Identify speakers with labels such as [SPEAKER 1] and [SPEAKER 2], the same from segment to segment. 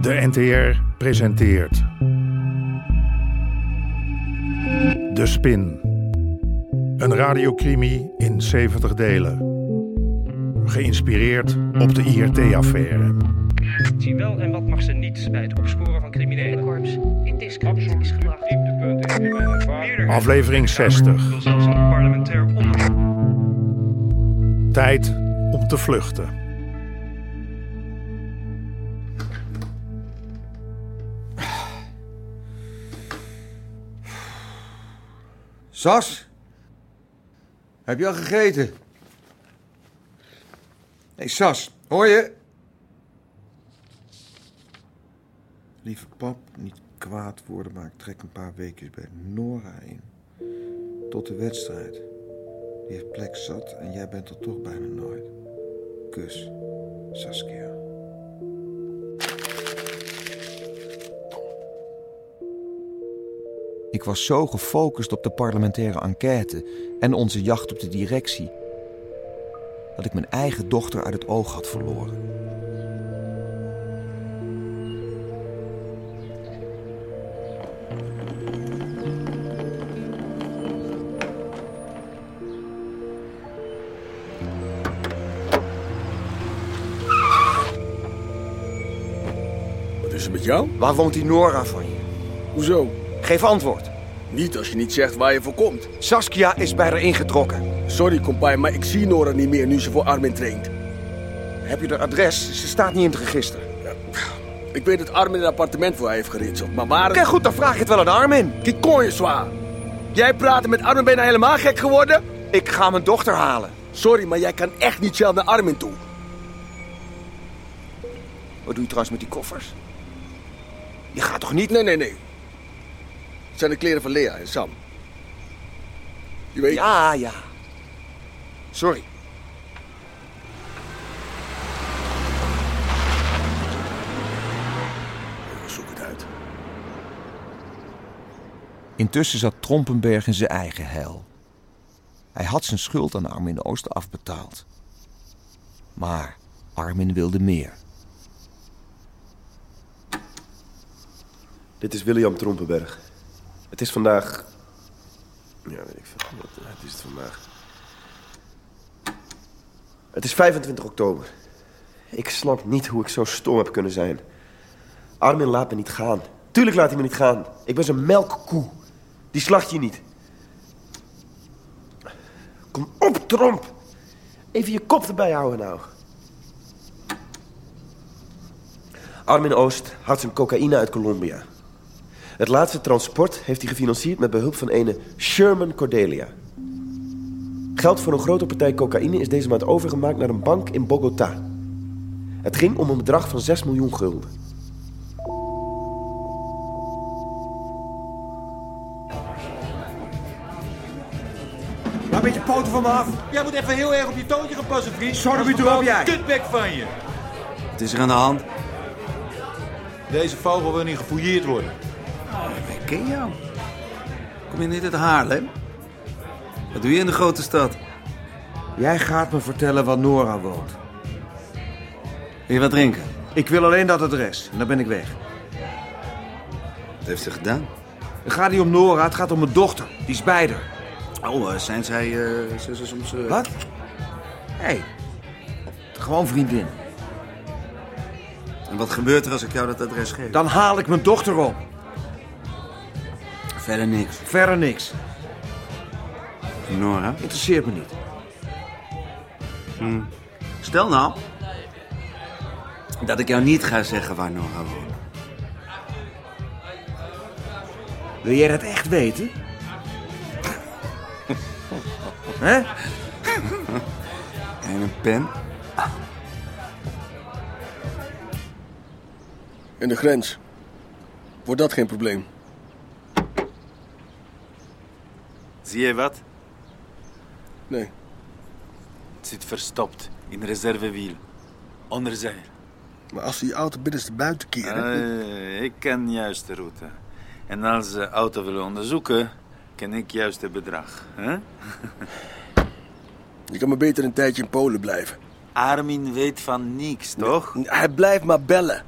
[SPEAKER 1] De NTR presenteert. De Spin. Een radiocrimi in 70 delen. Geïnspireerd op de IRT-affaire.
[SPEAKER 2] Wat Zie wel en wat mag ze niet bij het opsporen van criminelen.
[SPEAKER 3] Korps in discrediet is gebracht.
[SPEAKER 2] Dieptepunten in mijn ervaring.
[SPEAKER 1] Aflevering 60.
[SPEAKER 2] Wil zelfs een parlementair onderzoek.
[SPEAKER 1] Tijd om te vluchten.
[SPEAKER 4] Sas? Heb je al gegeten? Hé, Sas, hoor je? Lieve pap, niet kwaad worden, maar ik trek een paar weekjes bij Nora in. Tot de wedstrijd. Die heeft plek zat en jij bent er toch bijna nooit. Kus, Saskia. Ik was zo gefocust op de parlementaire enquête en onze jacht op de directie dat ik mijn eigen dochter uit het oog had verloren.
[SPEAKER 5] Wat is er Dus met jou?
[SPEAKER 4] Waar woont die Nora van je?
[SPEAKER 5] Hoezo?
[SPEAKER 4] Geef antwoord.
[SPEAKER 5] Niet als je niet zegt waar je voor komt.
[SPEAKER 4] Saskia is bij haar ingetrokken.
[SPEAKER 5] Sorry, compaan, maar ik zie Nora niet meer nu ze voor Armin traint.
[SPEAKER 4] Heb je haar adres? Ze staat niet in het register.
[SPEAKER 5] Ik weet dat Armin een appartement voor haar heeft geritseld, maar waar...
[SPEAKER 4] Oké, goed, dan vraag je het wel aan Armin.
[SPEAKER 5] die kon je zwaar. Jij praat met Armin, ben je nou helemaal gek geworden?
[SPEAKER 4] Ik ga mijn dochter halen.
[SPEAKER 5] Sorry, maar jij kan echt niet zelf naar Armin toe.
[SPEAKER 4] Wat doe je trouwens met die koffers? Je gaat toch niet...
[SPEAKER 5] Nee, nee, nee. Het zijn de kleren van Lea en Sam. Je weet...
[SPEAKER 4] Ja, ja. Sorry.
[SPEAKER 5] Zoek het uit.
[SPEAKER 4] Intussen zat Trompenberg in zijn eigen hel. Hij had zijn schuld aan Armin Ooster afbetaald. Maar Armin wilde meer.
[SPEAKER 6] Dit is William Trompenberg. Het is vandaag. Ja, weet ik veel. Wat eh, het is het vandaag? Het is 25 oktober. Ik snap niet hoe ik zo stom heb kunnen zijn. Armin laat me niet gaan. Tuurlijk laat hij me niet gaan. Ik ben zo'n melkkoe. Die slacht je niet. Kom op, Tromp. Even je kop erbij houden nou. Armin Oost had zijn cocaïne uit Colombia. Het laatste transport heeft hij gefinancierd met behulp van ene Sherman Cordelia. Geld voor een grote partij cocaïne is deze maand overgemaakt naar een bank in Bogota. Het ging om een bedrag van 6 miljoen gulden.
[SPEAKER 4] Laat beetje poten van me af.
[SPEAKER 7] Jij moet even heel erg op je toontje gaan passen, vriend.
[SPEAKER 4] Sorry,
[SPEAKER 7] Anders
[SPEAKER 4] doe op
[SPEAKER 7] maakt
[SPEAKER 4] jij.
[SPEAKER 7] een Kutbek van je.
[SPEAKER 4] Wat is er aan de hand?
[SPEAKER 7] Deze vogel wil niet gefouilleerd worden.
[SPEAKER 8] Ik ken jou. Kom je niet uit Haarlem? Wat doe je in de grote stad?
[SPEAKER 4] Jij gaat me vertellen waar Nora woont.
[SPEAKER 8] Wil je wat drinken?
[SPEAKER 4] Ik wil alleen dat adres. En dan ben ik weg.
[SPEAKER 8] Wat heeft ze gedaan?
[SPEAKER 4] Het gaat niet om Nora, het gaat om mijn dochter. Die is bij haar.
[SPEAKER 8] Oh, eh, zijn zij eh, zijn ze soms... eh,
[SPEAKER 4] Wat? Hé. Gewoon vriendin.
[SPEAKER 8] En wat gebeurt er als ik jou dat adres geef?
[SPEAKER 4] Dan haal ik mijn dochter op.
[SPEAKER 8] Verder niks.
[SPEAKER 4] Verder niks.
[SPEAKER 8] Nora?
[SPEAKER 4] Interesseert me niet.
[SPEAKER 8] Stel nou... dat ik jou niet ga zeggen waar Nora woont.
[SPEAKER 4] Wil jij dat echt weten? Hè?
[SPEAKER 8] En een pen?
[SPEAKER 5] In de grens. Wordt dat geen probleem?
[SPEAKER 9] Zie je wat?
[SPEAKER 5] Nee.
[SPEAKER 9] Het zit verstopt in reservewiel. Onderzij.
[SPEAKER 5] Maar als ze je auto binnenste buiten keren...
[SPEAKER 9] Eh, ik ken juist de route. En als ze auto willen onderzoeken, ken ik juist het bedrag. hè?
[SPEAKER 5] Je kan maar beter een tijdje in Polen blijven.
[SPEAKER 9] Armin weet van niks, toch?
[SPEAKER 5] Hij blijft maar bellen.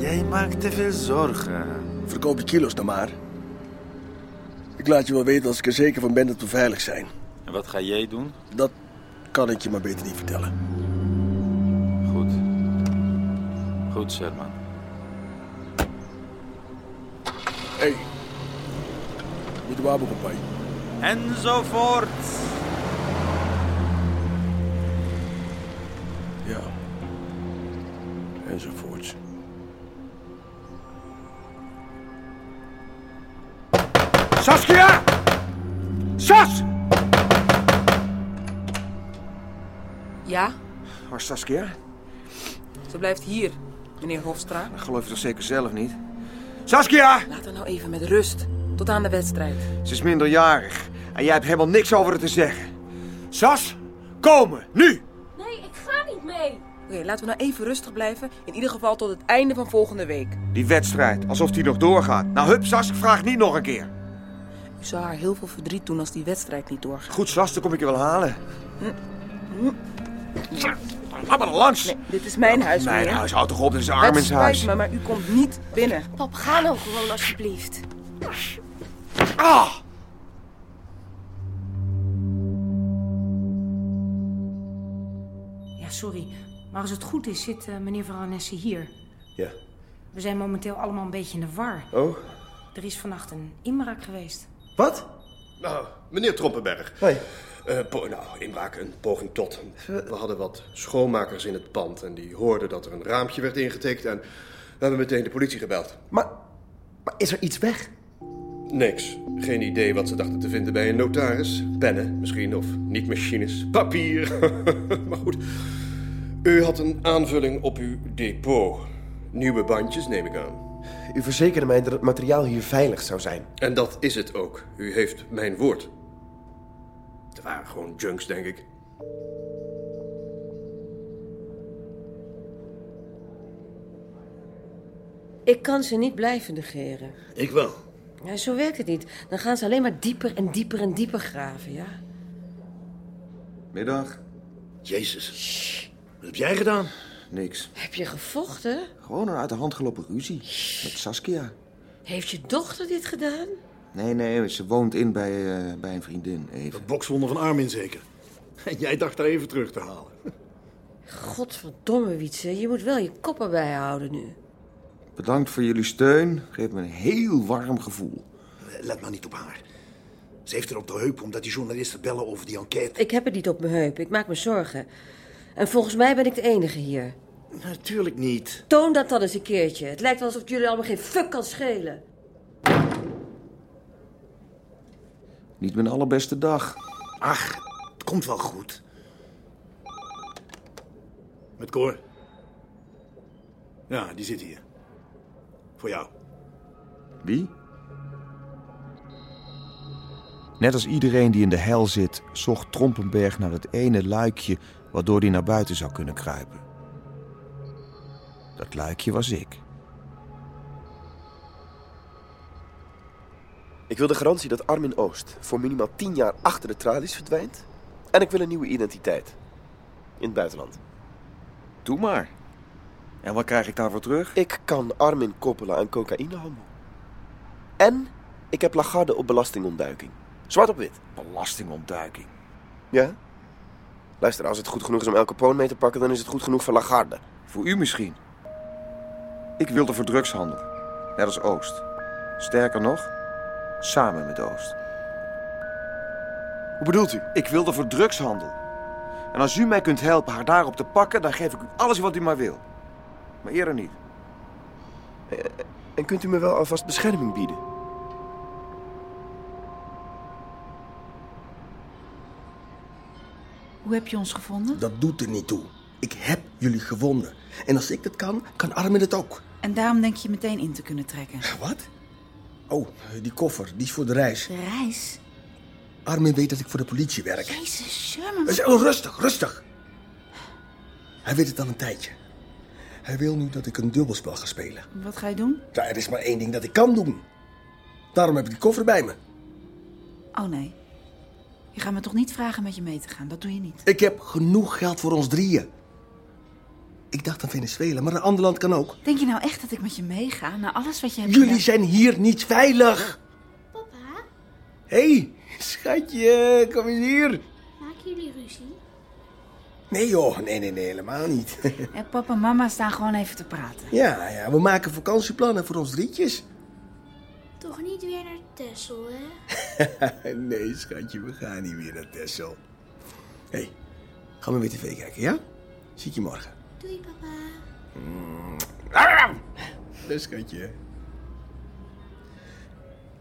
[SPEAKER 9] Jij maakt te veel zorgen.
[SPEAKER 5] Verkoop je kilo's dan maar. Ik laat je wel weten als ik er zeker van ben dat we veilig zijn.
[SPEAKER 9] En wat ga jij doen?
[SPEAKER 5] Dat kan ik je maar beter niet vertellen.
[SPEAKER 9] Goed. Goed, Sherman.
[SPEAKER 5] Hé, hey. moet de wapen op mij.
[SPEAKER 9] Enzovoort.
[SPEAKER 5] Ja. Enzovoorts. Saskia! Sas!
[SPEAKER 10] Ja,
[SPEAKER 4] Maar Saskia,
[SPEAKER 10] ze blijft hier, meneer Hofstra.
[SPEAKER 4] dat geloof je toch zeker zelf niet? Saskia!
[SPEAKER 10] Laten we nou even met rust. Tot aan de wedstrijd.
[SPEAKER 4] Ze is minderjarig en jij hebt helemaal niks over haar te zeggen. Sas, komen, nu!
[SPEAKER 11] Nee, ik ga niet mee.
[SPEAKER 10] Oké, laten we nou even rustig blijven. In ieder geval tot het einde van volgende week.
[SPEAKER 4] Die wedstrijd, alsof die nog doorgaat. Nou, hup Sas, ik vraag niet nog een keer.
[SPEAKER 10] Ik zou haar heel veel verdriet doen als die wedstrijd niet doorgaat.
[SPEAKER 4] Goed Sas, dan kom ik je wel halen. Laat maar langs!
[SPEAKER 10] Nee, dit is mijn huis,
[SPEAKER 4] Mijn
[SPEAKER 10] meneer.
[SPEAKER 4] huis, houd toch op, dit is
[SPEAKER 10] Het
[SPEAKER 4] Armin's
[SPEAKER 10] spijt
[SPEAKER 4] huis.
[SPEAKER 10] me, maar u komt niet binnen.
[SPEAKER 11] Pap, ga nou gewoon alsjeblieft.
[SPEAKER 4] Ah!
[SPEAKER 11] Ja, sorry. Maar als het goed is, zit eh, meneer Varanesse hier.
[SPEAKER 6] Ja.
[SPEAKER 11] We zijn momenteel allemaal een beetje in de war.
[SPEAKER 6] Oh.
[SPEAKER 11] Er is vannacht een inbraak geweest.
[SPEAKER 6] Wat?
[SPEAKER 12] Nou, meneer Troppenberg.
[SPEAKER 6] Hoi. Eh.
[SPEAKER 12] Eh, po- nou, inbraak, een poging tot. We hadden wat schoonmakers in het pand en die hoorden dat er een raampje werd ingetikt en we hebben meteen de politie gebeld.
[SPEAKER 6] Maar, maar is er iets weg?
[SPEAKER 12] Niks. Geen idee wat ze dachten te vinden bij een notaris. Pennen misschien, of niet-machines. Papier. maar goed. U had een aanvulling op uw depot. Nieuwe bandjes, neem ik aan.
[SPEAKER 6] U verzekerde mij dat het materiaal hier veilig zou zijn.
[SPEAKER 12] En dat is het ook. U heeft mijn woord. Het waren gewoon junks, denk ik.
[SPEAKER 13] Ik kan ze niet blijven negeren.
[SPEAKER 5] Ik wel.
[SPEAKER 13] Ja, zo werkt het niet. Dan gaan ze alleen maar dieper en dieper en dieper graven, ja.
[SPEAKER 4] Middag.
[SPEAKER 5] Jezus. Wat heb jij gedaan?
[SPEAKER 4] Niks.
[SPEAKER 13] Heb je gevochten?
[SPEAKER 4] Gewoon een uit de hand gelopen ruzie. Met Saskia.
[SPEAKER 13] Heeft je dochter dit gedaan?
[SPEAKER 4] Nee, nee, ze woont in bij, eh, bij een vriendin, even.
[SPEAKER 13] Bokswonder
[SPEAKER 5] Van Armin zeker. En jij dacht daar even terug te halen.
[SPEAKER 13] Godverdomme, Wietse. Je moet wel je koppen bijhouden nu.
[SPEAKER 4] Bedankt voor jullie steun. Geeft me een heel warm gevoel.
[SPEAKER 14] Let maar niet op haar. Ze heeft er op de heup omdat die journalisten bellen over die enquête.
[SPEAKER 13] Ik heb het niet op mijn heup. Ik maak me zorgen. En volgens mij ben ik de enige hier.
[SPEAKER 14] Natuurlijk niet.
[SPEAKER 13] Toon dat dan eens een keertje. Het lijkt wel alsof het jullie allemaal geen fuck kan schelen.
[SPEAKER 4] Niet mijn allerbeste dag.
[SPEAKER 14] Ach, het komt wel goed. Met Cor. Ja, die zit hier. Voor jou.
[SPEAKER 4] Wie? Net als iedereen die in de hel zit, zocht Trompenberg naar het ene luikje waardoor hij naar buiten zou kunnen kruipen. Dat luikje was ik.
[SPEAKER 6] Ik wil de garantie dat Armin Oost voor minimaal 10 jaar achter de tralies verdwijnt. En ik wil een nieuwe identiteit. In het buitenland.
[SPEAKER 4] Doe maar. En wat krijg ik daarvoor terug?
[SPEAKER 6] Ik kan Armin koppelen aan cocaïnehandel. En ik heb Lagarde op belastingontduiking. Zwart op wit.
[SPEAKER 4] Belastingontduiking?
[SPEAKER 6] Ja. Luister, als het goed genoeg is om El Capone mee te pakken, dan is het goed genoeg voor Lagarde.
[SPEAKER 4] Voor u misschien. Ik wilde voor drugshandel. Net als Oost. Sterker nog, samen met Oost. Hoe bedoelt u? Ik wilde voor drugshandel. En als u mij kunt helpen haar daarop te pakken, dan geef ik u alles wat u maar wil. Maar eerder niet.
[SPEAKER 6] En kunt u me wel alvast bescherming bieden?
[SPEAKER 15] Hoe heb je ons gevonden?
[SPEAKER 5] Hm? Dat doet er niet toe. Ik heb jullie gewonnen. En als ik dat kan, kan Armin het ook.
[SPEAKER 15] En daarom denk je meteen in te kunnen trekken.
[SPEAKER 5] Wat? Oh, die koffer, die is voor de reis.
[SPEAKER 15] Reis?
[SPEAKER 5] Armin weet dat ik voor de politie werk.
[SPEAKER 15] Jezus, Sherman.
[SPEAKER 5] Dus, oh, rustig, rustig. Hij weet het al een tijdje. Hij wil nu dat ik een dubbelspel ga spelen.
[SPEAKER 15] Wat ga je doen?
[SPEAKER 5] Ja, er is maar één ding dat ik kan doen. Daarom heb ik die koffer bij me.
[SPEAKER 15] Oh nee. Je gaat me toch niet vragen met je mee te gaan? Dat doe je niet.
[SPEAKER 5] Ik heb genoeg geld voor ons drieën. Ik dacht aan Venezuela, maar een ander land kan ook.
[SPEAKER 15] Denk je nou echt dat ik met je meega na alles wat je hebt
[SPEAKER 5] Jullie
[SPEAKER 15] gedaan?
[SPEAKER 5] zijn hier niet veilig. Papa? Hé, hey, schatje, kom eens hier.
[SPEAKER 16] Maken jullie ruzie?
[SPEAKER 5] Nee joh, nee, nee, nee, helemaal niet.
[SPEAKER 15] Eh, papa en mama staan gewoon even te praten.
[SPEAKER 5] ja, ja, we maken vakantieplannen voor ons drietjes.
[SPEAKER 16] Toch niet weer naar Tessel, hè?
[SPEAKER 5] nee, schatje, we gaan niet weer naar Texel. Hé, hey, gaan we weer tv kijken, ja? Zie ik je morgen.
[SPEAKER 16] Doei, papa.
[SPEAKER 5] Dus, schatje.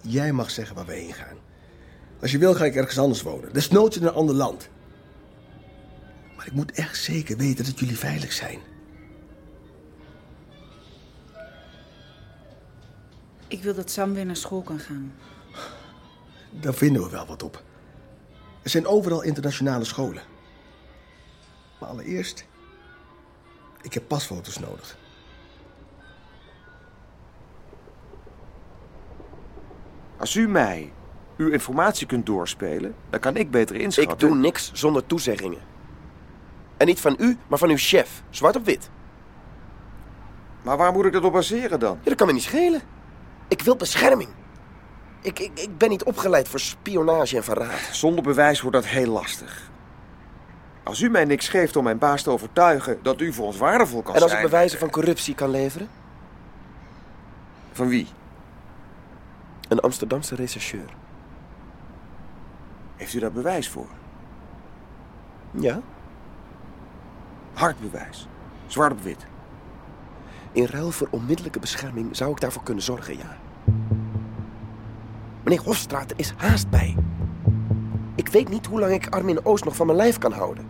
[SPEAKER 5] Jij mag zeggen waar we heen gaan. Als je wil, ga ik ergens anders wonen. Desnoods in een ander land. Maar ik moet echt zeker weten dat jullie veilig zijn.
[SPEAKER 15] Ik wil dat Sam weer naar school kan gaan.
[SPEAKER 5] Daar vinden we wel wat op. Er zijn overal internationale scholen. Maar allereerst, ik heb pasfoto's nodig.
[SPEAKER 6] Als u mij uw informatie kunt doorspelen, dan kan ik beter inschatten. Ik doe niks zonder toezeggingen. En niet van u, maar van uw chef. Zwart op wit. Maar waar moet ik dat op baseren dan? Ja, dat kan me niet schelen. Ik wil bescherming. Ik, ik, ik ben niet opgeleid voor spionage en verraad.
[SPEAKER 17] Zonder bewijs wordt dat heel lastig. Als u mij niks geeft om mijn baas te overtuigen dat u voor ons waardevol kan
[SPEAKER 6] En als ik
[SPEAKER 17] zijn...
[SPEAKER 6] bewijzen van corruptie kan leveren?
[SPEAKER 17] Van wie?
[SPEAKER 6] Een Amsterdamse rechercheur.
[SPEAKER 17] Heeft u daar bewijs voor?
[SPEAKER 6] Ja.
[SPEAKER 17] Hard bewijs. Zwart op wit.
[SPEAKER 6] In ruil voor onmiddellijke bescherming zou ik daarvoor kunnen zorgen, ja. Meneer Hofstraat, er is haast bij. Ik weet niet hoe lang ik Armin Oost nog van mijn lijf kan houden.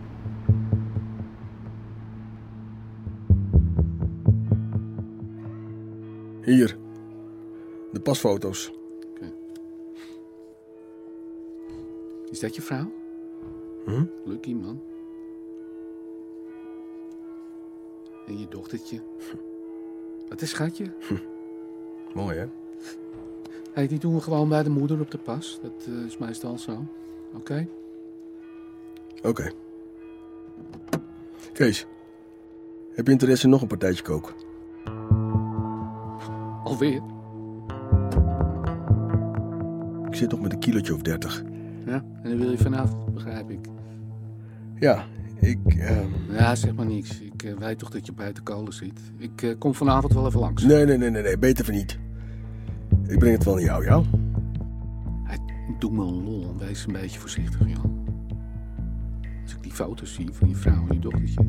[SPEAKER 5] Hier, de pasfoto's.
[SPEAKER 18] Is dat je vrouw?
[SPEAKER 5] Hm?
[SPEAKER 18] Lucky man. En je dochtertje. Wat is schatje?
[SPEAKER 5] Mooi, hè?
[SPEAKER 18] Hey, die doen we gewoon bij de moeder op de pas. Dat eh, is meestal zo. Oké?
[SPEAKER 5] Oké. Kees, heb je interesse in nog een partijtje kook?
[SPEAKER 18] Alweer?
[SPEAKER 5] Ik zit nog met een kilootje of dertig.
[SPEAKER 18] Ja. En dan wil je vanaf, begrijp ik.
[SPEAKER 5] Ja, ik... ehm,
[SPEAKER 18] Ja, zeg maar niks. Ik eh, weet toch dat je buiten kolen zit. Ik eh, kom vanavond wel even langs.
[SPEAKER 5] Nee, nee, nee, nee, nee, beter van niet. Ik breng het wel aan jou, ja?
[SPEAKER 18] Doe me een lol en wees een beetje voorzichtig, Jan. Als ik die foto's zie van je vrouw en je dochtertje.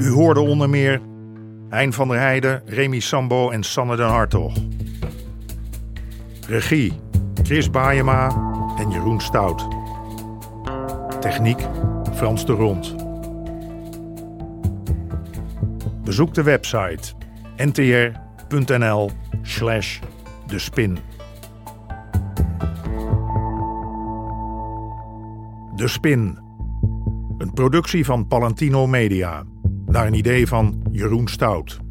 [SPEAKER 1] U hoorde onder meer Hein van der Heijden, Remy Sambo en Sanne den Hartog. Regie Chris Baayema en Jeroen Stout. Techniek Frans de Rond. Bezoek de website ntr.nl slash de spin. De Spin. Een productie van Palantino Media. Naar een idee van Jeroen Stout.